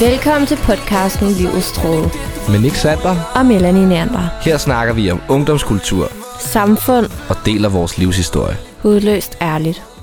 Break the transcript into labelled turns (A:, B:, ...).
A: Velkommen til podcasten Livets Tråde
B: Men ikke Sander.
A: og Melanie Nærmer.
B: Her snakker vi om ungdomskultur
A: Samfund,
B: og deler vores livshistorie.
A: hudløst ærligt.